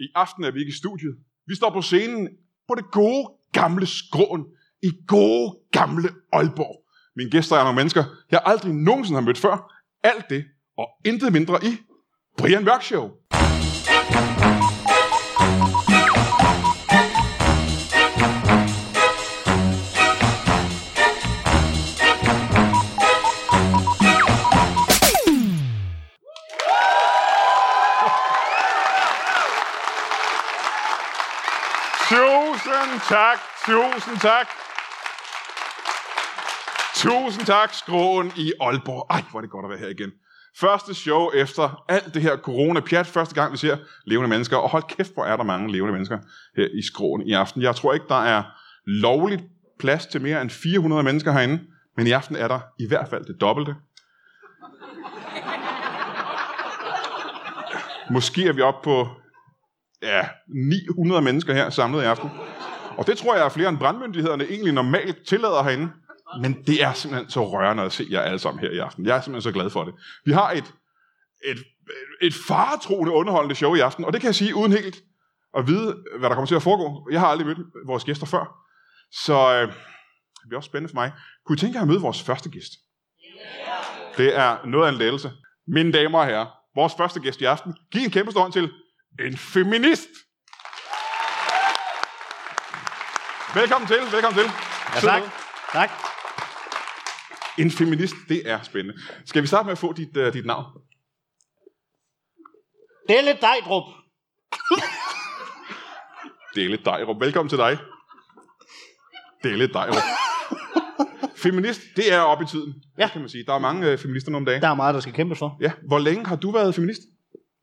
I aften er vi ikke i studiet. Vi står på scenen på det gode gamle skråen i gode gamle Aalborg. Mine gæster er nogle mennesker, jeg aldrig nogensinde har mødt før. Alt det og intet mindre i Brian Mørk Show. Tusind tak, tusind tak. Tusind tak, skråen i Aalborg. Ej, hvor er det godt at være her igen. Første show efter alt det her corona-pjat. Første gang, vi ser levende mennesker. Og hold kæft, hvor er der mange levende mennesker her i skråen i aften. Jeg tror ikke, der er lovligt plads til mere end 400 mennesker herinde. Men i aften er der i hvert fald det dobbelte. Måske er vi oppe på ja, 900 mennesker her samlet i aften. Og det tror jeg er flere end brandmyndighederne egentlig normalt tillader herinde. Men det er simpelthen så rørende at se jer alle sammen her i aften. Jeg er simpelthen så glad for det. Vi har et, et, et faretroende underholdende show i aften, og det kan jeg sige uden helt at vide, hvad der kommer til at foregå. Jeg har aldrig mødt vores gæster før, så øh, det bliver også spændende for mig. Kunne I tænke jer at møde vores første gæst? Det er noget af en lettelse. Mine damer og herrer, vores første gæst i aften. Giv en kæmpe stor hånd til en feminist. Velkommen til, velkommen til. Ja, Sid tak. ned. Tak. En feminist, det er spændende. Skal vi starte med at få dit, uh, dit navn? Delle Dejdrup. Dele Dejrup. Velkommen til dig. Dele Dejrup. feminist, det er oppe i tiden, Ja. det kan man sige. Der er mange uh, feminister nu om dagen. Der er meget, der skal kæmpes for. Ja. Hvor længe har du været feminist,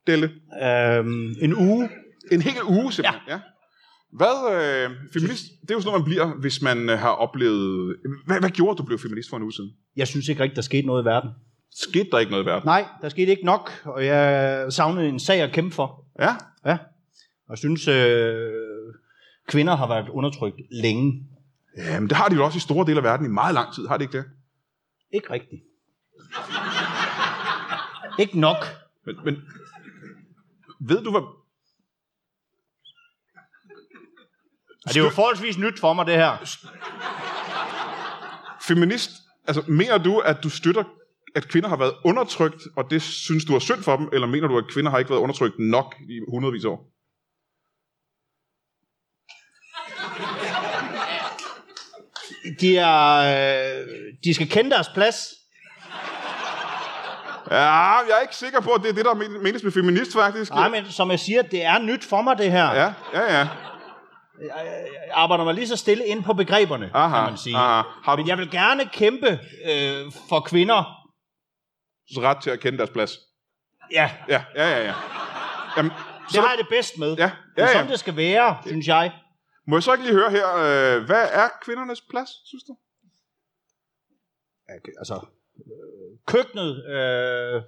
Delle? Øhm, en uge. En hel uge simpelthen, ja. ja. Hvad, øh, feminist, det er jo sådan noget, man bliver, hvis man øh, har oplevet... Hvad, hvad gjorde, at du blev feminist for en uge siden? Jeg synes ikke rigtigt, der skete noget i verden. Skete der ikke noget i verden? Nej, der skete ikke nok, og jeg savnede en sag at kæmpe for. Ja, Ja. Og jeg synes, øh, kvinder har været undertrykt længe. Jamen, det har de jo også i store dele af verden i meget lang tid, har de ikke det? Ikke rigtigt. ikke nok. Men, men ved du, hvad... Og det er jo forholdsvis nyt for mig, det her. Feminist, altså mener du, at du støtter, at kvinder har været undertrykt, og det synes du er synd for dem, eller mener du, at kvinder har ikke været undertrykt nok i hundredvis af år? De, er, øh, de skal kende deres plads. Ja, jeg er ikke sikker på, at det er det, der men- menes med feminist, faktisk. Nej, men som jeg siger, det er nyt for mig, det her. Ja, ja, ja. Jeg Øh, arbejder mig lige så stille ind på begreberne, Aha, kan man sige. aha. Har du Men jeg vil gerne kæmpe øh, for kvinder. ret til at kende deres plads? Ja, Ja, ja, ja, ja. Jamen, det så, har jeg det bedst med. Ja, Det er ja, ja. sådan, det skal være, synes jeg. må jeg så ikke lige høre her, øh, hvad er kvindernes plads, synes du? Altså, øh, køkkenet... Øh,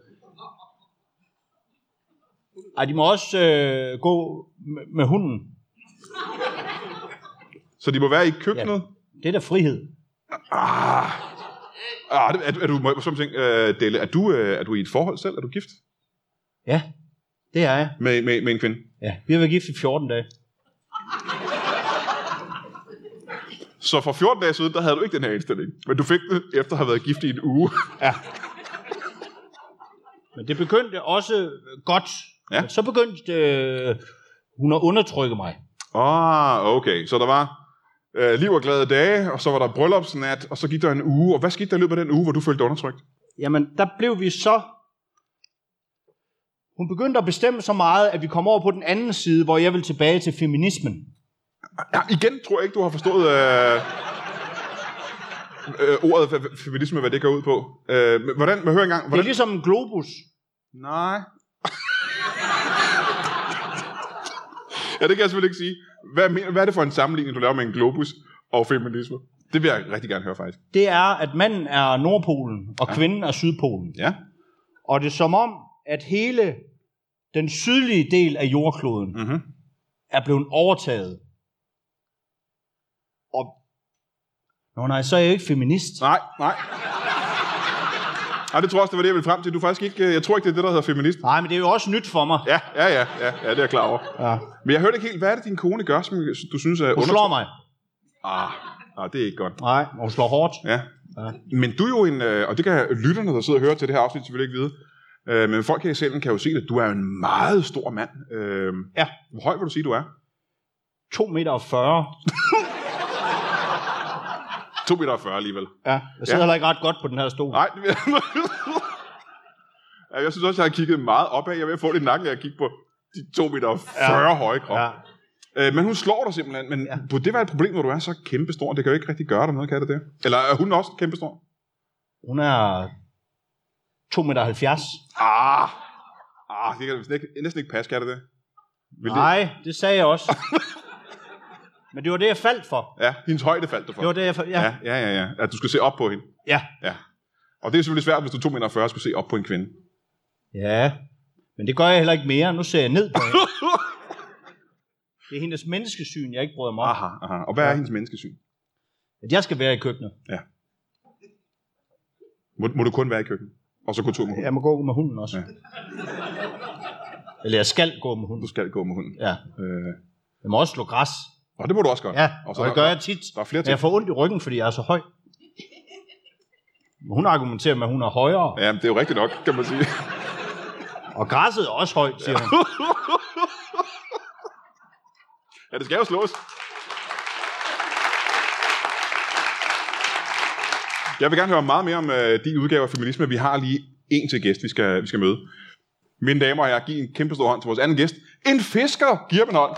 ej, de må også øh, gå med, med hunden. Så de må være i køkkenet? Ja. Det er da frihed. Ah, det- er, du- er du, må jeg som ting, øh, Delle, er du, øh, er du i et forhold selv? Er du gift Ja, det er jeg. med, med, med en kvinde? Ja. Vi har været gift i 14 dage. Så for 14 dage siden, der havde du ikke den her indstilling. Men du fik den efter at have været gift i en uge. Men det begyndte også øh, godt. Ja. Men Så begyndte øh, hun at undertrykke mig. Ah, okay. Så der var øh, liv og glade dage, og så var der bryllupsnat, og så gik der en uge. Og hvad skete der i løbet af den uge, hvor du følte dig undertrykt? Jamen, der blev vi så... Hun begyndte at bestemme så meget, at vi kom over på den anden side, hvor jeg vil tilbage til feminismen. Ja, igen tror jeg ikke, du har forstået øh, øh, ordet fe- feminisme, hvad det går ud på. Øh, men hvordan, men hør engang. Det er Hvordan? ligesom en globus. Nej. ja, det kan jeg selvfølgelig ikke sige. Hvad, mener, hvad er det for en sammenligning, du laver med en globus og feminisme? Det vil jeg rigtig gerne høre, faktisk. Det er, at manden er Nordpolen, og ja. kvinden er Sydpolen. Ja. Og det er som om, at hele den sydlige del af jordkloden Mhm. er blevet overtaget. Og... Nå nej, så er jeg jo ikke feminist. Nej, nej. Nej, det tror jeg også, det var det, jeg ville frem til. Du er faktisk ikke, øh, jeg tror ikke, det er det, der hedder feminist. Nej, men det er jo også nyt for mig. Ja, ja, ja, ja, ja det er jeg klar over. Ja. Men jeg hørte ikke helt, hvad er det, din kone gør, som du synes er Hun slår mig. Ah, ah, det er ikke godt. Nej, og hun slår hårdt. Ja. Ja. Men du er jo en, øh, og det kan lytterne, der sidder og hører til det her afsnit, selvfølgelig ikke vide, øh, men folk her i salen kan jo se det, du er en meget stor mand. Øh, Ja. Hvor høj vil du sige, du er? 2 meter og 40. 2 meter og 40 alligevel. Ja, jeg sidder Ja. heller ikke ret godt på den her stol. Nej, det vil jeg... Ja, jeg synes også, jeg har kigget meget opad. Jeg er ved at få lidt nakken, af at kigge på de 2 meter og 40 ja. høje krop. Ja. Ja. Øh, men hun slår dig simpelthen. Men ja. burde det være et problem, når du er så kæmpestor? Det kan jo ikke rigtig gøre dig noget, kan det det? Eller er hun også kæmpestor? Hun er 2 meter 70. Ah, ah det kan næsten ikke, næsten ikke passe, kan det det? Vil det- Nej, det sagde jeg også. men det var det, jeg faldt for. Ja, hendes højde faldt du for. Det var det, jeg faldt ja. Ja, ja, ja, ja. At du skal se op på hende. ja. Ja. Og det er selvfølgelig svært, hvis du er 2 meter 40 skulle se op på en kvinde. Ja. Men det gør jeg heller ikke mere. Nu ser jeg ned på hende. Det er hendes menneskesyn, jeg ikke bryder mig om. Aha, aha. Og hvad ja. er hendes menneskesyn? At jeg skal være i køkkenet. Må, må du kun være i køkkenet? Og så gå tur med hunden? Jeg må gå med hunden også. Ja. Ja. Eller jeg skal gå med Du hunden. skal gå med hunden. Ja. Øh. Jeg må også slå græs. Og det må du også godt. Ja, og og, så det der, gør jeg tit. der er flere Men jeg ting. får ondt i ryggen, fordi jeg er så høj. Men Hun argumenterer med, at hun er højere. Ja, men det er jo rigtigt nok, kan man sige. Og græsset er også højt, siger hun. ja, det skal jo slås. Jeg vil gerne høre meget mere om øh, de udgaver af feminisme. Vi har lige en til gæst, vi skal, vi skal møde. Mine damer og herrer, giv en kæmpe stor hånd til vores anden gæst. En fisker! Giv ham en hånd.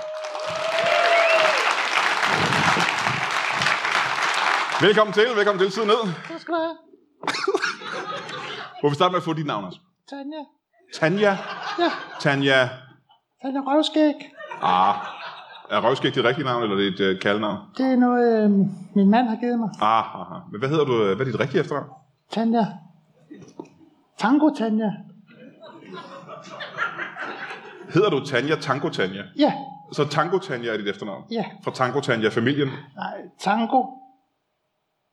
Velkommen til, velkommen til. Sid ned. Tak skal du have. Må vi starte med at få dit navn også? Tanja. Tanja. Ja, Tanja. Tanja Røvskæg. Ah. Er røvskæg dit rigtige navn, eller er det et øh, kaldenavn? Det er noget, øh, min mand har givet mig. Ah, ah, ah. Men hvad hedder du? øh, Hvad er dit rigtige efternavn? Tanja. Tango Tanja. Hedder du Tanja Tango Tanja? Ja, Så Tango Tanja er dit efternavn? ja. Fra Tango Tanja familien? Nej, Tango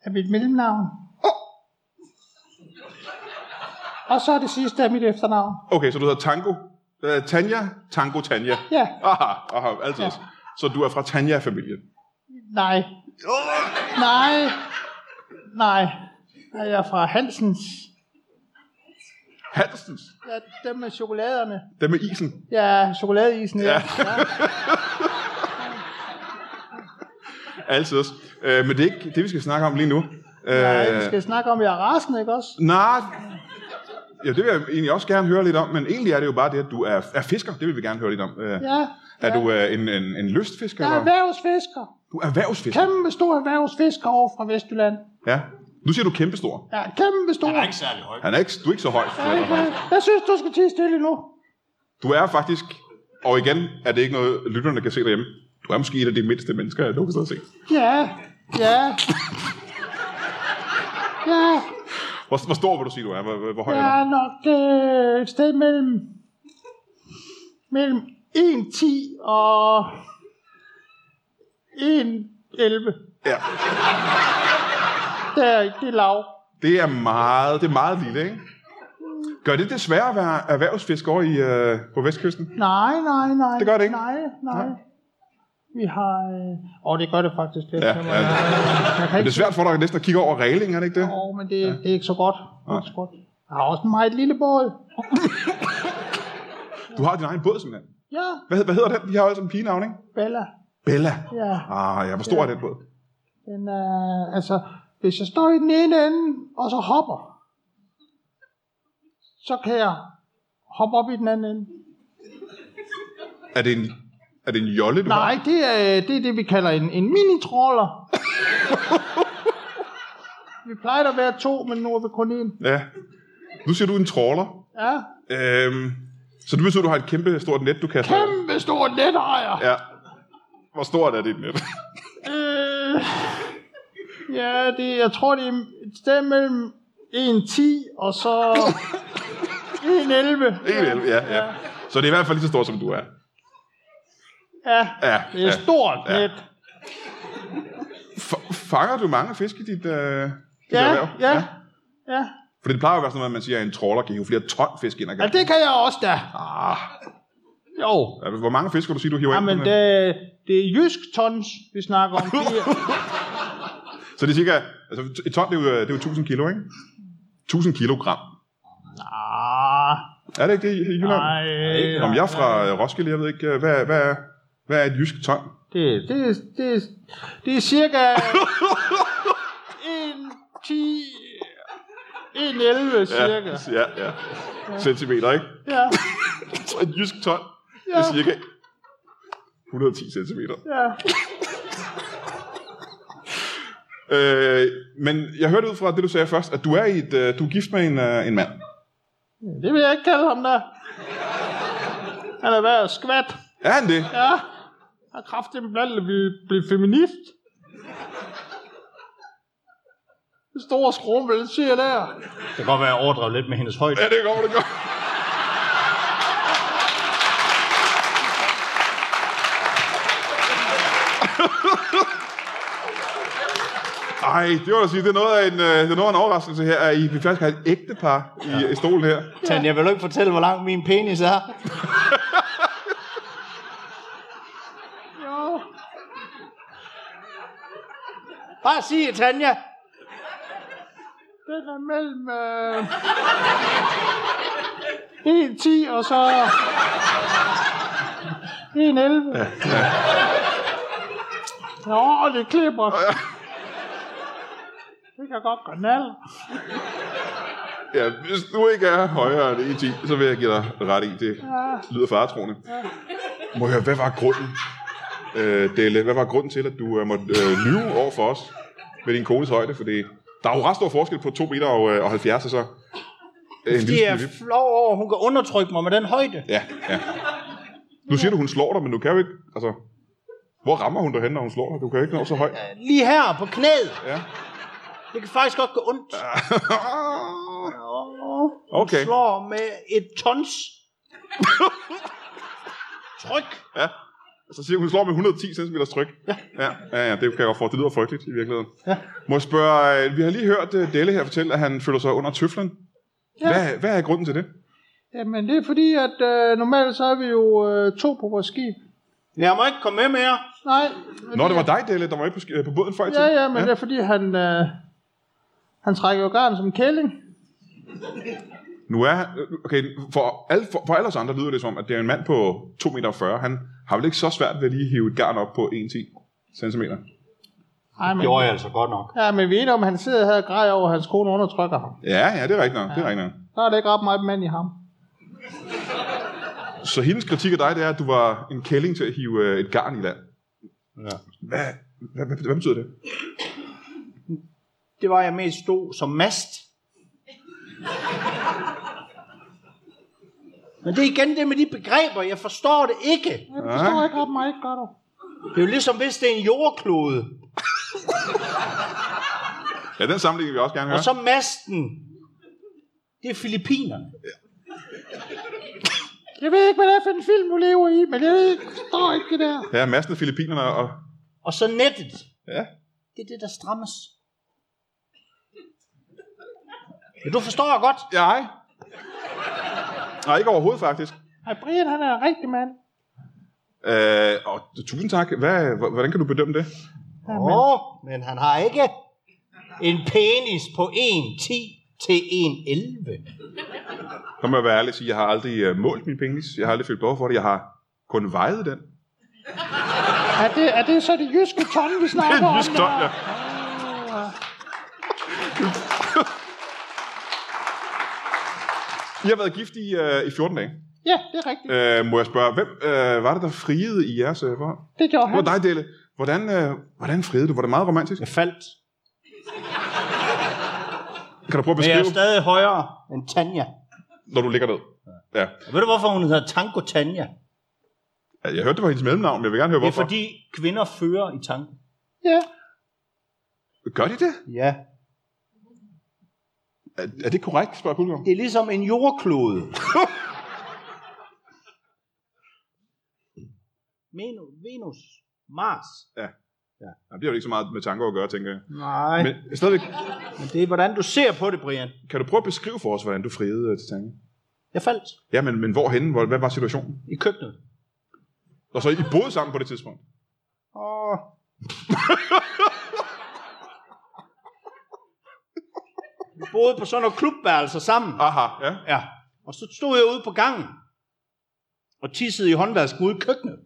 er mit mellemnavn. Og så er det sidste af mit efternavn. Okay, så du hedder Tango? Uh, Tanja Tango Tanja? Ja, Aha, aha, altid. Ja. Så du er fra Tanja familien? nej, nej, nej. Nej, Jeg er fra Hansens. Hansens. Ja, dem med chokoladerne. Dem med isen. Ja, chokoladeisen. Ja. Ja. ja. Altid. Uh, men det er ikke det, vi skal snakke om lige nu. Uh, Nej, vi skal snakke om, at jeg er rasende, ikke også? Nej. Ja, det vil jeg egentlig også gerne høre lidt om, men egentlig er det jo bare det, at du er, er fisker. Det vil vi gerne høre lidt om. Uh, Ja. Er ja. du øh, en, en, en lystfisker? Jeg er eller? erhvervsfisker. Du er erhvervsfisker? Kæmpe stor erhvervsfisker over fra Vestjylland. Ja. Nu siger du kæmpestor. Ja, kæmpe stor. Han er ikke særlig høj. Han er ikke, du er ikke så høj. Jeg synes, du skal tige stille nu. Du er faktisk, og igen er det ikke noget, lytterne kan se derhjemme, du er måske et af de mindste mennesker, jeg nogensinde har set. Ja, ja. Ja, Hvor, hvor stor vil du sige, du er? Hvor, hvor, hvor høj jeg er er nok øh, et sted mellem, mellem 1,10 og 1,11. du? Ja. Det er, det er lav. Det er meget, det er meget lille, ikke? Gør det det sværere at være erhvervsfisker over i, øh, på Vestkysten? Nej, nej, nej. Det gør det ikke. Nej, nej. Vi har... Øh... Åh, det gør det faktisk lidt. Ja, Jeg må- ja. Jeg kan Men det ikke er svært for dig næsten at kigge over reglingen, er det ikke det? Åh, men det, ja. det er ikke så godt. Det er Nej. ikke så godt. Jeg har også en meget lille båd. Du har din egen båd, simpelthen. Ja, Hvad, hed- hvad hedder den? De har jo altså en pigenavn, ikke? Bella. Bella. Ja, Ah, ja, hvor stor er den båd? den er... Altså, hvis jeg står i den ene ende, og så hopper, så kan jeg hoppe op i den anden ende. Er det en, er det en jolle, du Nej, har? det er øh, det, er det vi kalder en, en mini-troller. vi plejer at være to, men nu er vi kun én. Ja. Nu siger du en trawler. Ja, Øhm, så det betyder, at du har et kæmpe stort net, du kaster. kæmpe stor netejer. Ja. Hvor stort er dit net? Øh, ja, det, jeg tror, det er et sted mellem 1,10 og så 1,11. 1,11, ja, ja. Så det er i hvert fald lige så stort, som du er. Ja, Ja, det er ja. et stort Ja. net. F- fanger du mange fisk i dit, øh, dit Ja, erhverv? ja, ja. For det plejer jo at være sådan noget, at man siger, at en trawler kan hive flere ton fisk ind ad Ja, gangen. det kan jeg også da. Ah, Jo. altså, hvor mange fisk vil du sige, du hiver ind? Jamen, på det, den her? det er jysk tons, vi snakker om. Det er, Så det er cirka... Altså, et ton, det er, jo, det er jo 1000 kilo, ikke? 1000 kilogram. ah, Er det ikke det i i Jylland? nej, Om jeg er fra øh, Roskilde, jeg ved ikke, øh, hvad, hvad, er, hvad er et jysk ton? det, det, er- det, er- det er cirka 1, 10, 1, 11 cirka. Ja, ja, ja. Centimeter, ikke? Ja, Så et jysk ton, det ja, er cirka 110 centimeter. ja. Øh, men jeg hørte ud fra det, du sagde først, at du er, i et, øh, du er gift med en, øh, en mand. Det vil jeg ikke kalde ham der. Han er værd at skvat. Er han det? Ja, han er kraftigt blandt at blive, blive feminist. Det store skrumpel, den siger der. Det kan godt være, at jeg overdrev lidt med hendes højde. Ja, det kommer det godt. Ej, det var da sige, det er noget af en, øh, det er noget af en overraskelse her, at I faktisk har et ægtepar i, ja. i stolen her. Tanja, vil du ikke fortælle, hvor lang min penis er? Jo. Bare sig det, Tanja. Den er mellem... Øh, 1,10 og så... 1,11. Ja, ja. Nå, det klipper. Det kan godt gå nal. Ja, hvis du ikke er højere end 1,10, så vil jeg give dig ret i det. Lyder faretroende. Ah. Må jeg høre, hvad var grunden, øh, Delle? Hvad var grunden til, at du øh, måtte øh, lyve over for os med din kones højde? Fordi der er jo ret stor forskel på 2 meter og, øh, og 70, og så øh, en Fordi lille jeg smule. er flov over, at hun kan undertrykke mig med den højde. Ja, ja. Nu siger du, hun slår dig, men du kan jo ikke... Altså, hvor rammer hun dig hen, når hun slår dig? Du kan jo ikke nå så højt. Lige her på knæet. Ja. Det kan faktisk godt gå ondt. Åh, Hun Okay. slår med et tons tryk. Ja. Så siger hun, hun slår med 110 cm tryk. Ja. ja. Ja, ja, det kan jeg godt få. Det lyder frygteligt i virkeligheden. Ja. Må jeg spørge, øh, vi har lige hørt øh, Delle her fortælle, at han føler sig under tøflen. Ja. Ja. Hvad, hvad er grunden til det? Jamen, det er fordi, at øh, normalt så er vi jo øh, to på vores skib. Jeg må ikke komme med mere. Nej. Nå, det var dig, Delle, der var ikke på, sk- øh, på båden før i Ja, tiden. ja, men ja. det er fordi, han... Øh, han trækker jo garn som kælling. Nu er han, øh, okay, for alle, for, for alle os andre lyder det som, at det er en mand på 2,40 meter. Han har vel ikke så svært ved at lige hive et garn op på 1,10 cm. Ej, men, Gjorde jeg altså godt nok. ja, men vi er enige om, at han sidder her og græder over, at hans kone undertrykker ham. Ja, ja, det er rigtigt nok. Ja. Det er rigtigt nok. Der er det ikke ret meget mand i ham. Så hendes kritik af dig, det er, at du var en kælling til at hive øh, et garn i land. Ja. Hvad, hvad, hvad, hvad betyder det? Det var jeg mest stod som mast. Men det er igen det med de begreber. Jeg forstår det ikke. Jeg forstår ikke ret meget, gør du? Det er jo ligesom, hvis det er en jordklode. Ja, den sammenligning vil jeg også gerne høre. Og så masten. Det er Filippinerne. Jeg ved ikke, hvad det er for en film, du lever i, men jeg ved ikke, forstår ikke det der. Ja, massen af Filippinerne og... Og så nettet. Ja. Det er det, der strammes. Men du forstår godt. Nej. Nej, ikke overhovedet faktisk. Ej, Brian, han er en rigtig mand. Øh, og tusind tak. Hvad, hvordan kan du bedømme det? Åh, oh, men han har ikke en penis på 1,10 til 1,11. Så må jeg være ærlig og sige, jeg har aldrig øh, målt min penis. Jeg har aldrig følt behov for det. Jeg har kun vejet den. Er det, er det så det jyske ton, vi snakker om? Lyst ja. I har været gift i, øh, i 14 dage. Ja, det er rigtigt. Øh, må jeg spørge, hvem øh, var det, der friede i jeres øh, forhold? Det gjorde Det han. var dig, Delle. Hvordan, øh, hvordan friede du? Var det meget romantisk? Jeg faldt. Kan du prøve at Men jeg er beskrive, stadig højere end Tanja. når du ligger ned? Ja. Og ved du, hvorfor hun hedder Tango Tanja? Jeg hørte, det var hendes mellemnavn, men jeg vil gerne høre, Det er hvorfor. fordi kvinder fører i tanken. Ja. Gør de det? Ja. Er, er det korrekt, spørger publikum? Det er ligesom en jordklode. Menu, Venus, Mars. Jamen, det har jo ikke så meget med tanker at gøre, tænker jeg. Nej. Men, Men stadigvæk, men det er, hvordan du ser på det, Brian. kan du prøve at beskrive for os, hvordan du friede øh, til tanken? Jeg faldt Ja, men, men hvorhenne? Hvor, hvad var situationen? i køkkenet. Og så I boede sammen på det tidspunkt. Åh. Vi boede på sådan nogle klubværelser sammen. Aha, ja. Ja. Og så stod jeg ude på gangen og tissede i håndvasken ude i køkkenet.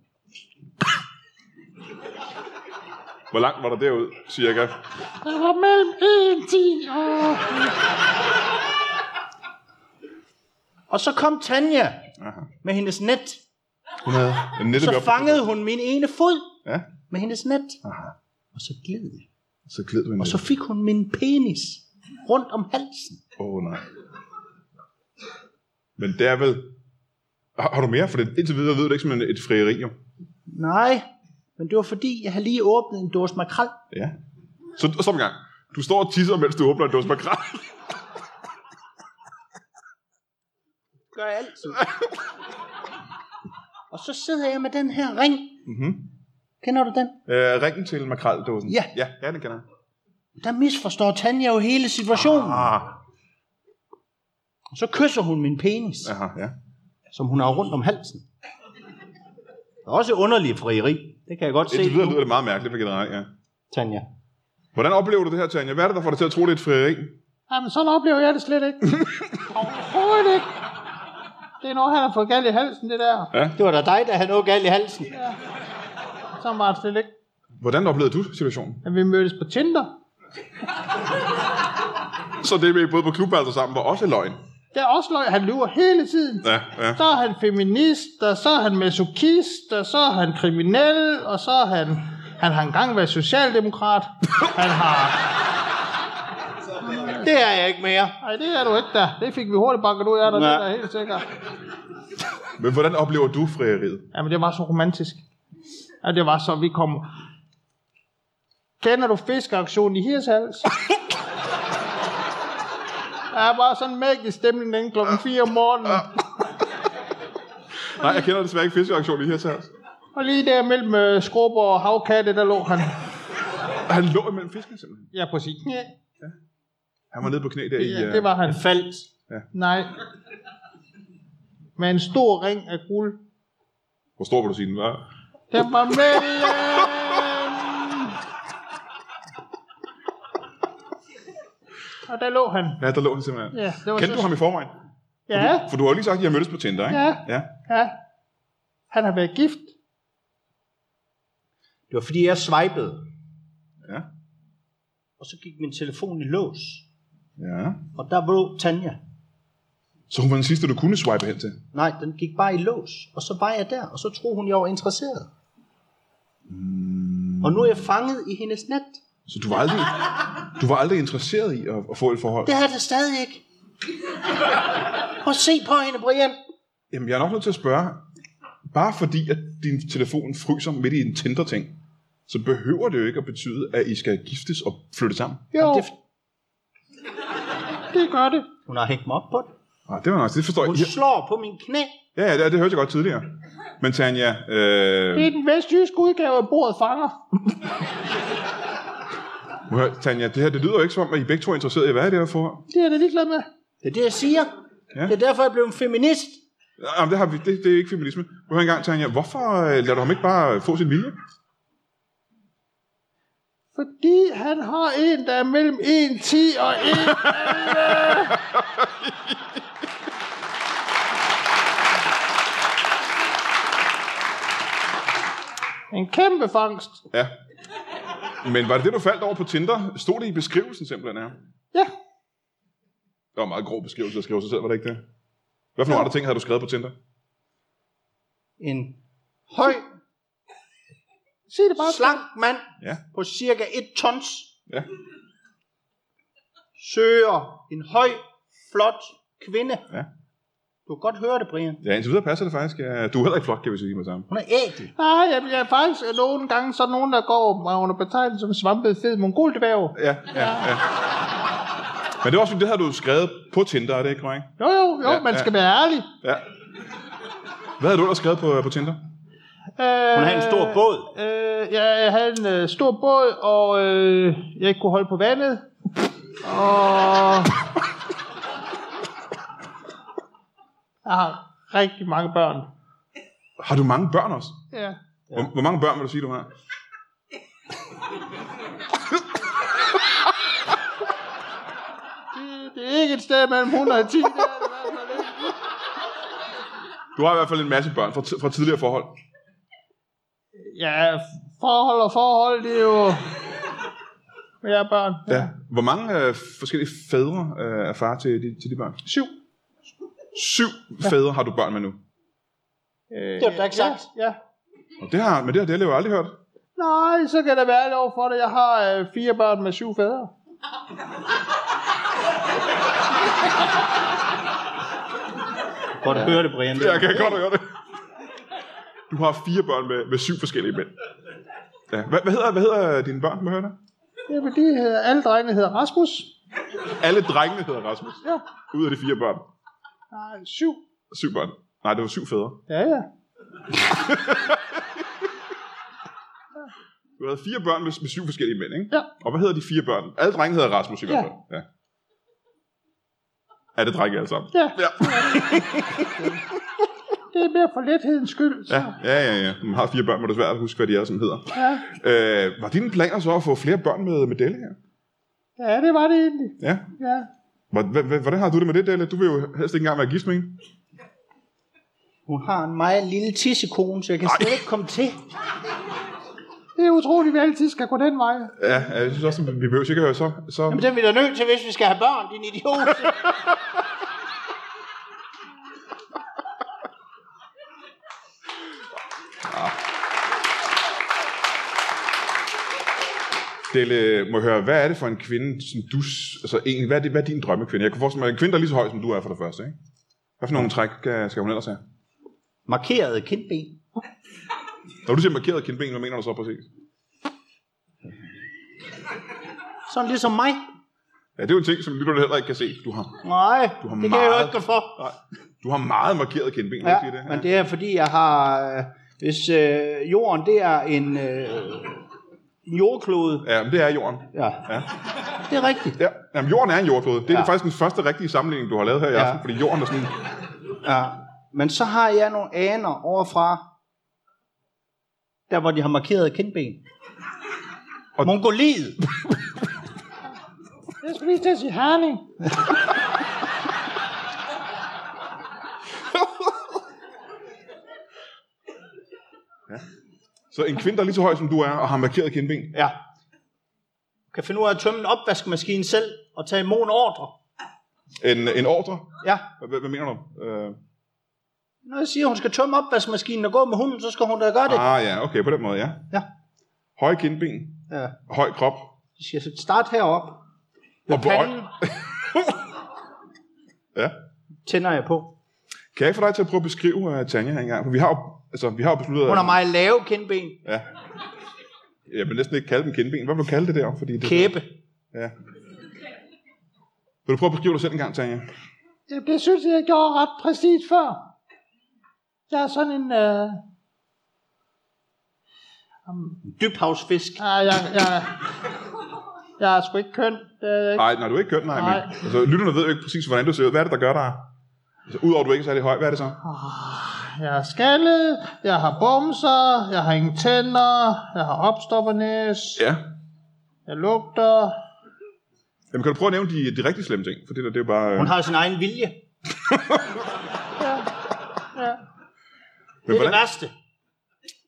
Hvor langt var der derud, cirka? Der var mellem 1-10 og... Og så kom Tanja Aha. med hendes net. Hun havde en nettet Så op- fangede hun min ene fod Ja, med hendes net. Aha. Og så gled jeg. så gled du hende. Og så fik hun min penis rundt om halsen. Åh, oh, nej. Men det er vel... Har, har du mere? For det, indtil videre ved du ikke som en- et frieri, jo. Nej, men det var fordi, jeg havde lige åbnet en dåse makrel. Ja. Så og stop en gang. Du står og tisser, mens du åbner en dåse makrel. gør jeg altid. og så sidder jeg med den her ring. Mhm. Kender du den? Øh, ringen til makreldåsen. Ja. ja. Ja, den kender jeg. Der misforstår Tanja jo hele situationen. Ah, Og så kysser hun min penis, ja. aha, ja. som hun har rundt om halsen. Det er også underlig frieri. Det kan jeg godt se Indtil videre nu, lyder det meget mærkeligt for generelt, ja. Tanja. Hvordan oplever du det her, Tanja? Hvad er det, der får dig til at tro, det er et frieri? Jamen, sådan oplever jeg det slet ikke. Overhovedet ikke. Det er noget, han har fået galt i halsen, det der. Det var da dig, der havde noget galt i halsen. Sådan var det slet ikke. Hvordan oplevede du situationen? Men vi mødtes på Tinder. Så det med, at I boede på klubværelser sammen, var også løgn. Der er også løg, han lyver hele tiden. Ja, ja. Så er han feminist, og så er han masokist, og så er han kriminel, og så er han... Han har engang været socialdemokrat. Han har... Det er jeg ikke mere. Nej, det er du ikke der. Det fik vi hurtigt banket ud af dig, det Nej. er jeg helt sikkert. Men hvordan oplever du frieriet? Jamen, det var så romantisk. Ja, det var så, vi kom... Kender du fiskeaktionen i Hirshals? Ja, bare sådan en magisk stemning den klokken 4 om morgenen. Nej, jeg kender desværre ikke fiskeaktionen i her til os. Og lige der mellem øh, skrub og havkatte, der lå han. Han lå imellem fisken simpelthen. Ja, præcis. Ja, Han var nede på knæ der i... ja, øh, det var han. Jeg faldt. Nej. Med en stor ring af guld. Hvor stor vil du sige, den var? Den var øh, mellem... Og der lå han. Ja, der lå han simpelthen. Ja, det var Kendte så... du ham i forvejen? Ja, For du har jo lige sagt, at I har mødtes på Tinder, ikke? Ja. ja. ja. Han har været gift. Det var fordi, jeg swipede. Ja. Og så gik min telefon i lås. Ja. Og der var Tanja. Så hun var den sidste, du kunne swipe hen til. Nej, den gik bare i lås. Og så var jeg der, og så troede hun, jeg var interesseret. Mm. Og nu er jeg fanget i hendes net. Så du var aldrig, du var aldrig interesseret i at, at få et forhold? Det har jeg da stadig ikke. Prøv at se på hende, Brian. Jamen, jeg er nok nødt til at spørge. Bare fordi, at din telefon fryser midt i en Tinder-ting, så behøver det jo ikke at betyde, at I skal giftes og flytte sammen. Jo, Det, det gør det. hun har hængt mig op på det. Nej, Ah, det var nok, det forstår jeg. Hun slår på min knæ. Ja, ja, det, det hørte jeg godt tidligere. Men Tanja, øh, Det er den vestjyske udgave af bordet fanger. må jeg høre, Tanja, det her det lyder jo ikke som om, at I begge to er interesseret i, hvad er det her forhold? Det er jeg da ligeglad med. Det er det, jeg siger. Ja. Ja. Det er derfor, jeg blev en feminist. Jamen, Ah, det, har vi, det, det er ikke feminisme. Må jeg høre engang, Tanja, hvorfor øh, lader du ham ikke bare få sin vilje? Fordi han har en, der er mellem 1,10 og 1... En kæmpe fangst. Ja. Men var det det, du faldt over på Tinder? Stod det i beskrivelsen simpelthen her? Ja, Det var en meget grov beskrivelse at skrive sig selv, var det ikke det? Hvad for nogle andre ting havde du skrevet på Tinder? En høj, sig det bare. slank mand Ja. på cirka 1 tons Ja. søger en høj, flot kvinde. Ja. Du kan godt høre det, Brian. Ja, indtil videre passer det faktisk. Ja, du er heller ikke flot, kan vi sige med sammen. Hun er ægel. Nej, jeg, jeg er faktisk nogle gange så er der nogen, der går under betegnelse som svampede fed mongoldværv. Ja, ja, ja. Men det er også, fordi det havde du skrevet på Tinder, er det ikke korrekt? Jo, jo, jo, Ja, ja, man ja. skal være ærlig. Ja. Hvad havde du ellers skrevet på, på Tinder? Øh, Hun har en stor båd. Øh, ja, jeg havde en øh, stor båd, og øh, jeg ikke kunne holde på vandet. Og... Jeg har rigtig mange børn. Har du mange børn også? Ja. Hvor, hvor mange børn vil du sige, du har? Det, det er ikke et sted mellem 110. Det er det i hvert fald ikke. Du har i hvert fald en masse børn fra, ti- fra tidligere forhold. Ja, forhold og forhold, det er jo... Men jeg er børn. Ja. Hvor mange øh, forskellige fædre øh, er far til de, til de børn? Syv. Syv fædre har du børn med nu. Øh, Det har du da ikke ja, sagt. Ja. Og det har, men det har det har jeg jo aldrig hørt. Nej, så kan der være lov for det. Jeg har øh, fire børn med syv fædre. Godt ja. høre det, Brian. Ja, jeg kan godt høre det. Du har fire børn med, med syv forskellige mænd. Ja. Hvad, hvad, hedder, hvad hedder dine børn, må jeg høre det? Ja, men de hedder, alle drengene hedder Rasmus. Alle drengene hedder Rasmus. Ja. Ud af de fire børn. Nej, syv. Syv børn. Nej, det var syv fædre. Ja, ja. Du havde fire børn med, med syv forskellige mænd, ikke? Ja. Og hvad hedder de fire børn? Alle drenge hedder Rasmus i hvert Ja. fald. Ja. Er det drenge alle sammen? Ja. Ja, Det er mere for lethedens skyld. Så. ja, ja. ja, ja. Man har fire børn, men det er svært at huske, hvad de er, som hedder. ja. Øh, var dine planer så at få flere børn med, med Delle her? Ja, det var det egentlig. Ja. Ja. Hvor- hvor- hvor- Hvordan har du det med det, Delle? Du vil jo helst ikke engang være gift med en. Hun har en meget lille tissekone, så jeg kan slet ikke komme til. Det er utroligt, vi altid skal gå den vej. Ja, ja, jeg synes også, at vi behøver sikkert høre så... så... Jamen, det er vi da nødt til, hvis vi skal have børn, din idiot. Delle, øh, må jeg høre, hvad er det for en kvinde, som du... s- Altså egentlig, hvad er, det, hvad er din drømmekvinde? Jeg kunne forestille mig, en kvinde, der er lige så høj, som du er for det første, ikke? Hvad for nogle træk øh, skal hun ellers have? Markeret kindben. Når du siger markeret kindben, hvad mener du så præcis? Sådan ligesom mig. Ja, det er jo en ting, som lytterne heller ikke kan se. Du har, Nej, Du har det kan jeg jo meget- ikke gå for. nej, du har meget markeret kindben, ja, Ja, ikke det? men det er fordi, jeg har... øh, Hvis øh, jorden, det er en øh, jordklode. Ja, men det er jorden. Ja. Ja. Det er rigtigt. Ja, jamen, jorden er en jordklode. Det er Ja. ja. faktisk den første rigtige sammenligning, du har lavet her i Ja. aften, fordi jorden er sådan... Ja. Men så har jeg nogle aner overfra, der hvor de har markeret kindben. Og- Og Mongoliet. Jeg skulle lige til at sige herning. Så en kvinde, der er lige så høj, som du er, og har markeret kindben. Ja. Kan finde ud af at tømme en opvaskemaskine selv og tage imod en ordre. En, en ordre. Ja. Hvad, hvad mener du? Øh, Når jeg siger, at hun skal tømme opvaskemaskinen og gå med hunden, så skal hun da gøre det. ah, ja, okay, på den måde, ja. Ja. Høje kindben, ja. høj krop. Jeg siger, så start heroppe. Og Panden Ja. tænder jeg på. Kan jeg få dig til at prøve at beskrive uh, Tanja her engang? For vi har jo, altså, vi har jo besluttet... at- Hun har meget lave kindben. Ja. Jeg vil næsten ikke kalde dem kindben. Hvad vil du kalde det der? Fordi det, Kæbe. Ja. Vil du prøve at beskrive dig selv en gang, Tanja? Jamen, det synes jeg, jeg gjorde ret præcist før. Jeg er sådan en... Øh... Dybhavsfisk. Ah, jeg, jeg, jeg er sgu ikke køn. Det er jeg ikke. Nej, nej, du er ikke køn, nej. nej. Nej. Men, altså, lytterne ved jo ikke præcis, hvordan du ser ud. Hvad er det, der gør dig? Altså, udover at du ikke er særlig høj, hvad er det så? Jeg er skaldet, jeg har bumser, jeg har ingen tænder, jeg har opstoppernæs, Ja. jeg lugter. Jamen, kan du prøve at nævne de, de rigtig slemme ting? For det der, det er jo bare... Øh... Hun har jo sin egen vilje. Ja. Men Det er det hvordan, værste.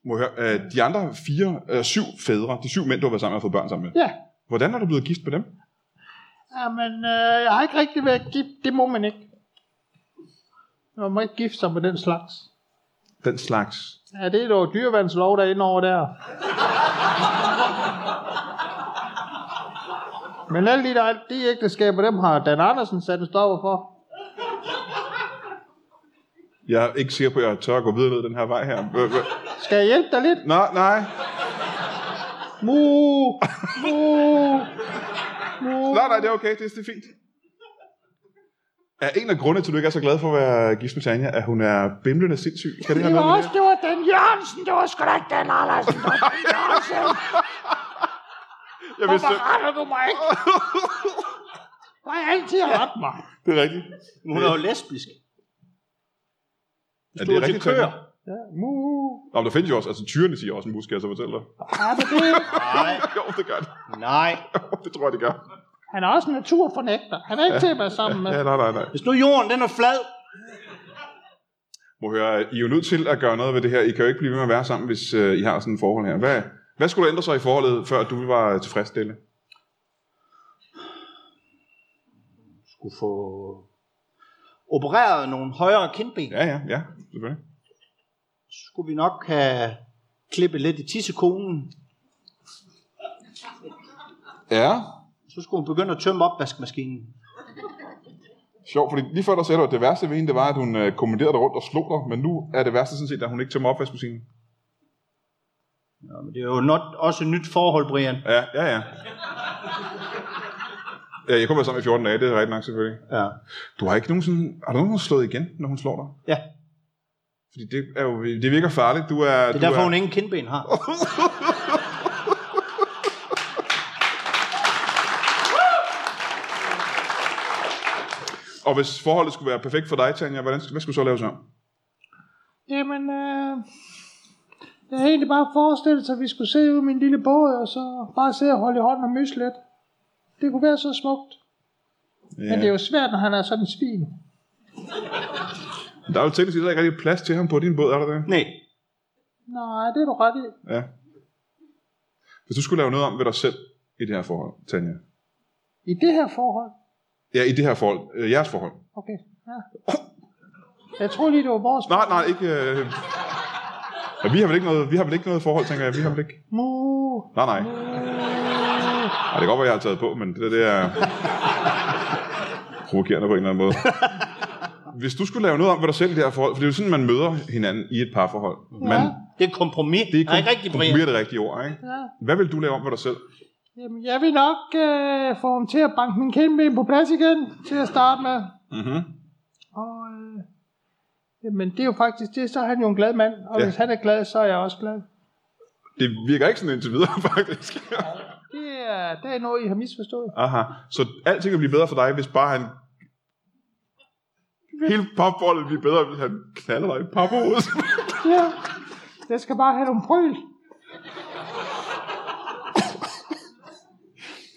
må jeg høre, øh, de andre fire, øh, syv fædre, de syv mænd, du har været sammen med og fået børn sammen med. ja. Hvordan er du blevet gift med dem? Jamen, øh, jeg har ikke rigtig været gift. Det må man ikke. Man må ikke gifte sig med den slags. Den slags. Ja, det er dog dyrevandslov, der er inde over der. Men alle de, der, de ægteskaber, dem har Dan Andersen sat en stopper for. Jeg er ikke sikker på, at jeg tør at gå videre ned den her vej her. Øh, øh. Skal jeg hjælpe dig lidt? Nej, nej. Mu, mu, mu. Nej, nej, det er okay. Det, er- det er fint. Er en af grundene til, at du ikke er så glad for at være gift med Tanja, at hun er bimlende sindssyg? Kan det have Det var noget med også, det var den Jørgensen, det var sgu da ikke den Andersen, det var den Jørgensen. det? Jeg vidste, Hvorfor retter du mig ikke? Du har altid ret mig. det er rigtigt. Men hun er jo lesbisk. Er stod det til rigtigt, køer. Tanja? Ja, mu. Nå, men der findes jo også, altså tyrene siger også en mus, kan jeg så fortælle dig. Er det det? Nej, jo, det gør det. nej. Det tror jeg, det gør. Han er også en naturfornægter. Han er ikke til at være sammen med. Ja, nej, nej, nej. Hvis nu jorden den er flad, Må høre, I er jo nødt til at gøre noget ved det her. I kan jo ikke blive ved med at være sammen, hvis øh, I har sådan et forhold her. Hvad, hvad skulle der ændre sig i forholdet, før du var tilfredsstillende? skulle få opereret nogle højere kindben, Ja, ja. ja, ja, selvfølgelig. så skulle vi nok have klippet lidt i tissekonen. Ja, Så skulle hun begynde at tømme opvaskemaskinen. sjovt, fordi lige før der sagde du, at det værste ved hende, det var, at hun øh, kommanderede dig rundt og slog dig, men nu er det værste sådan set, at hun ikke tømmer opvaskemaskinen. Ja, men det er jo not, også et nyt forhold, Brian. Ja, ja, ja. Ja, jeg kommer sammen i 14 dage, det er rigtigt nok selvfølgelig. Ja. Du har ikke nogen sådan, har du nogen slået igen, når hun slår dig? ja. Fordi det, er jo, det virker farligt. Du er, Det du er derfor, er, hun ingen kindben har. Og hvis forholdet skulle være perfekt for dig, Tanja, hvordan, hvad skulle så laves om? Jamen, øh, jeg havde egentlig bare forestillet sig, at vi skulle sidde ude i min lille båd, og så bare sidde og holde i hånden og mysse lidt. Det kunne være så smukt. Men det er jo svært, når han er sådan en svin. Der er jo teknisk set ikke rigtig plads til ham på din båd, er der det? Nej. Nej, det er du ret i. Ja. Hvis du skulle lave noget om ved dig selv i det her forhold, Tanja. I det her forhold. Ja, i det her forhold. Øh, jeres forhold. Okay, ja. Jeg tror lige, det var vores... Nej, nej, ikke... Øh... Ja, vi har vel ikke noget, vi har vel ikke noget forhold, tænker jeg. Vi har vel ikke... Mu. Nej, nej. Ej, det kan godt være, jeg har taget på, men det der, det er provokerende på en eller anden måde. Hvis du skulle lave noget om ved dig selv i det her forhold, for det er jo sådan, man møder hinanden i et parforhold. Man, Det er et kompromis. det er Nej, ikke rigtigt, Brian. kompromis er det rigtige ord, ikke? Ja. Hvad vil du lave om ved dig selv? Jamen, jeg vil nok øh, få ham til at banke min kindben på plads igen, til at starte med. Mm-hmm. Og, øh, jamen, det er jo faktisk det, så er han jo en glad mand. Og Ja. ja. hvis han er glad, så er jeg også glad. Det virker ikke sådan indtil videre, faktisk. Det er, det er noget, I har misforstået. Aha. Så alting vil blive bedre for dig, hvis bare han... Hele parforholdet bliver bedre, hvis han knalder dig i papperhovedet. Ja. Jeg skal bare have nogle brøl.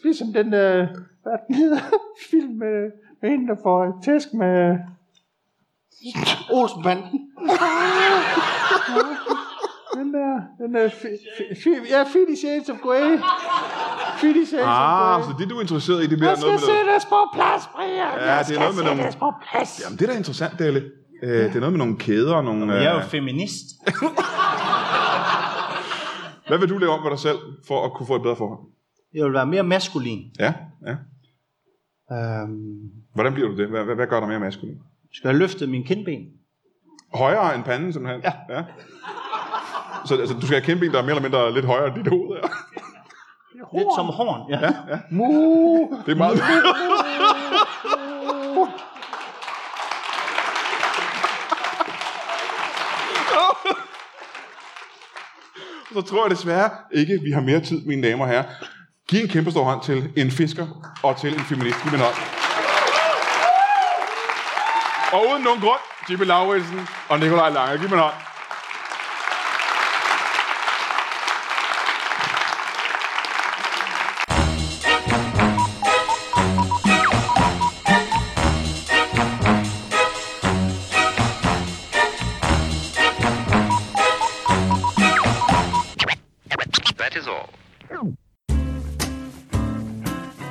Ligesom den, øh, hvad den hedder, film med, med hende, der får tæsk med... Olsenbanden. Den der, den der, fi, fi, fi, ja, Fifty Shades of Grey. Fifty Shades ah, of så Grey. det du er interesseret i, det bliver Jeg noget med skal noget. sættes på plads, Brian. Ja, Jeg det er skal noget med nogle- sættes på plads. Jamen, det er da interessant, Dalle. Øh, det er noget med nogle kæder og nogle... Jeg er jo øh, feminist. hvad vil du lave om med dig selv, for at kunne få et bedre forhold? Jeg vil være mere maskulin. Ja, ja. Øhm, Hvordan bliver du det? Hvad, hvad, hvad gør dig mere maskulin? skal jeg løfte min kindben? Højere end panden, simpelthen? Ja. ja. Så altså, du skal have kæmpe en, der er mere eller mindre lidt højere end dit hoved. Ja. Lidt som horn. Ja. ja. Mu. Det er meget... Så tror jeg desværre ikke, vi har mere tid, mine damer og herrer. Giv en kæmpe stor hånd til en fisker og til en feminist. Giv dem en hånd. Og uden nogen grund, Jimmy Lauritsen og Nikolaj Lange. Giv dem en hånd. That is all.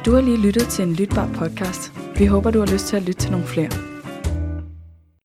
Du har lige lyttet til en lytbar podcast. Vi håber, du har lyst til at lytte til nogle flere.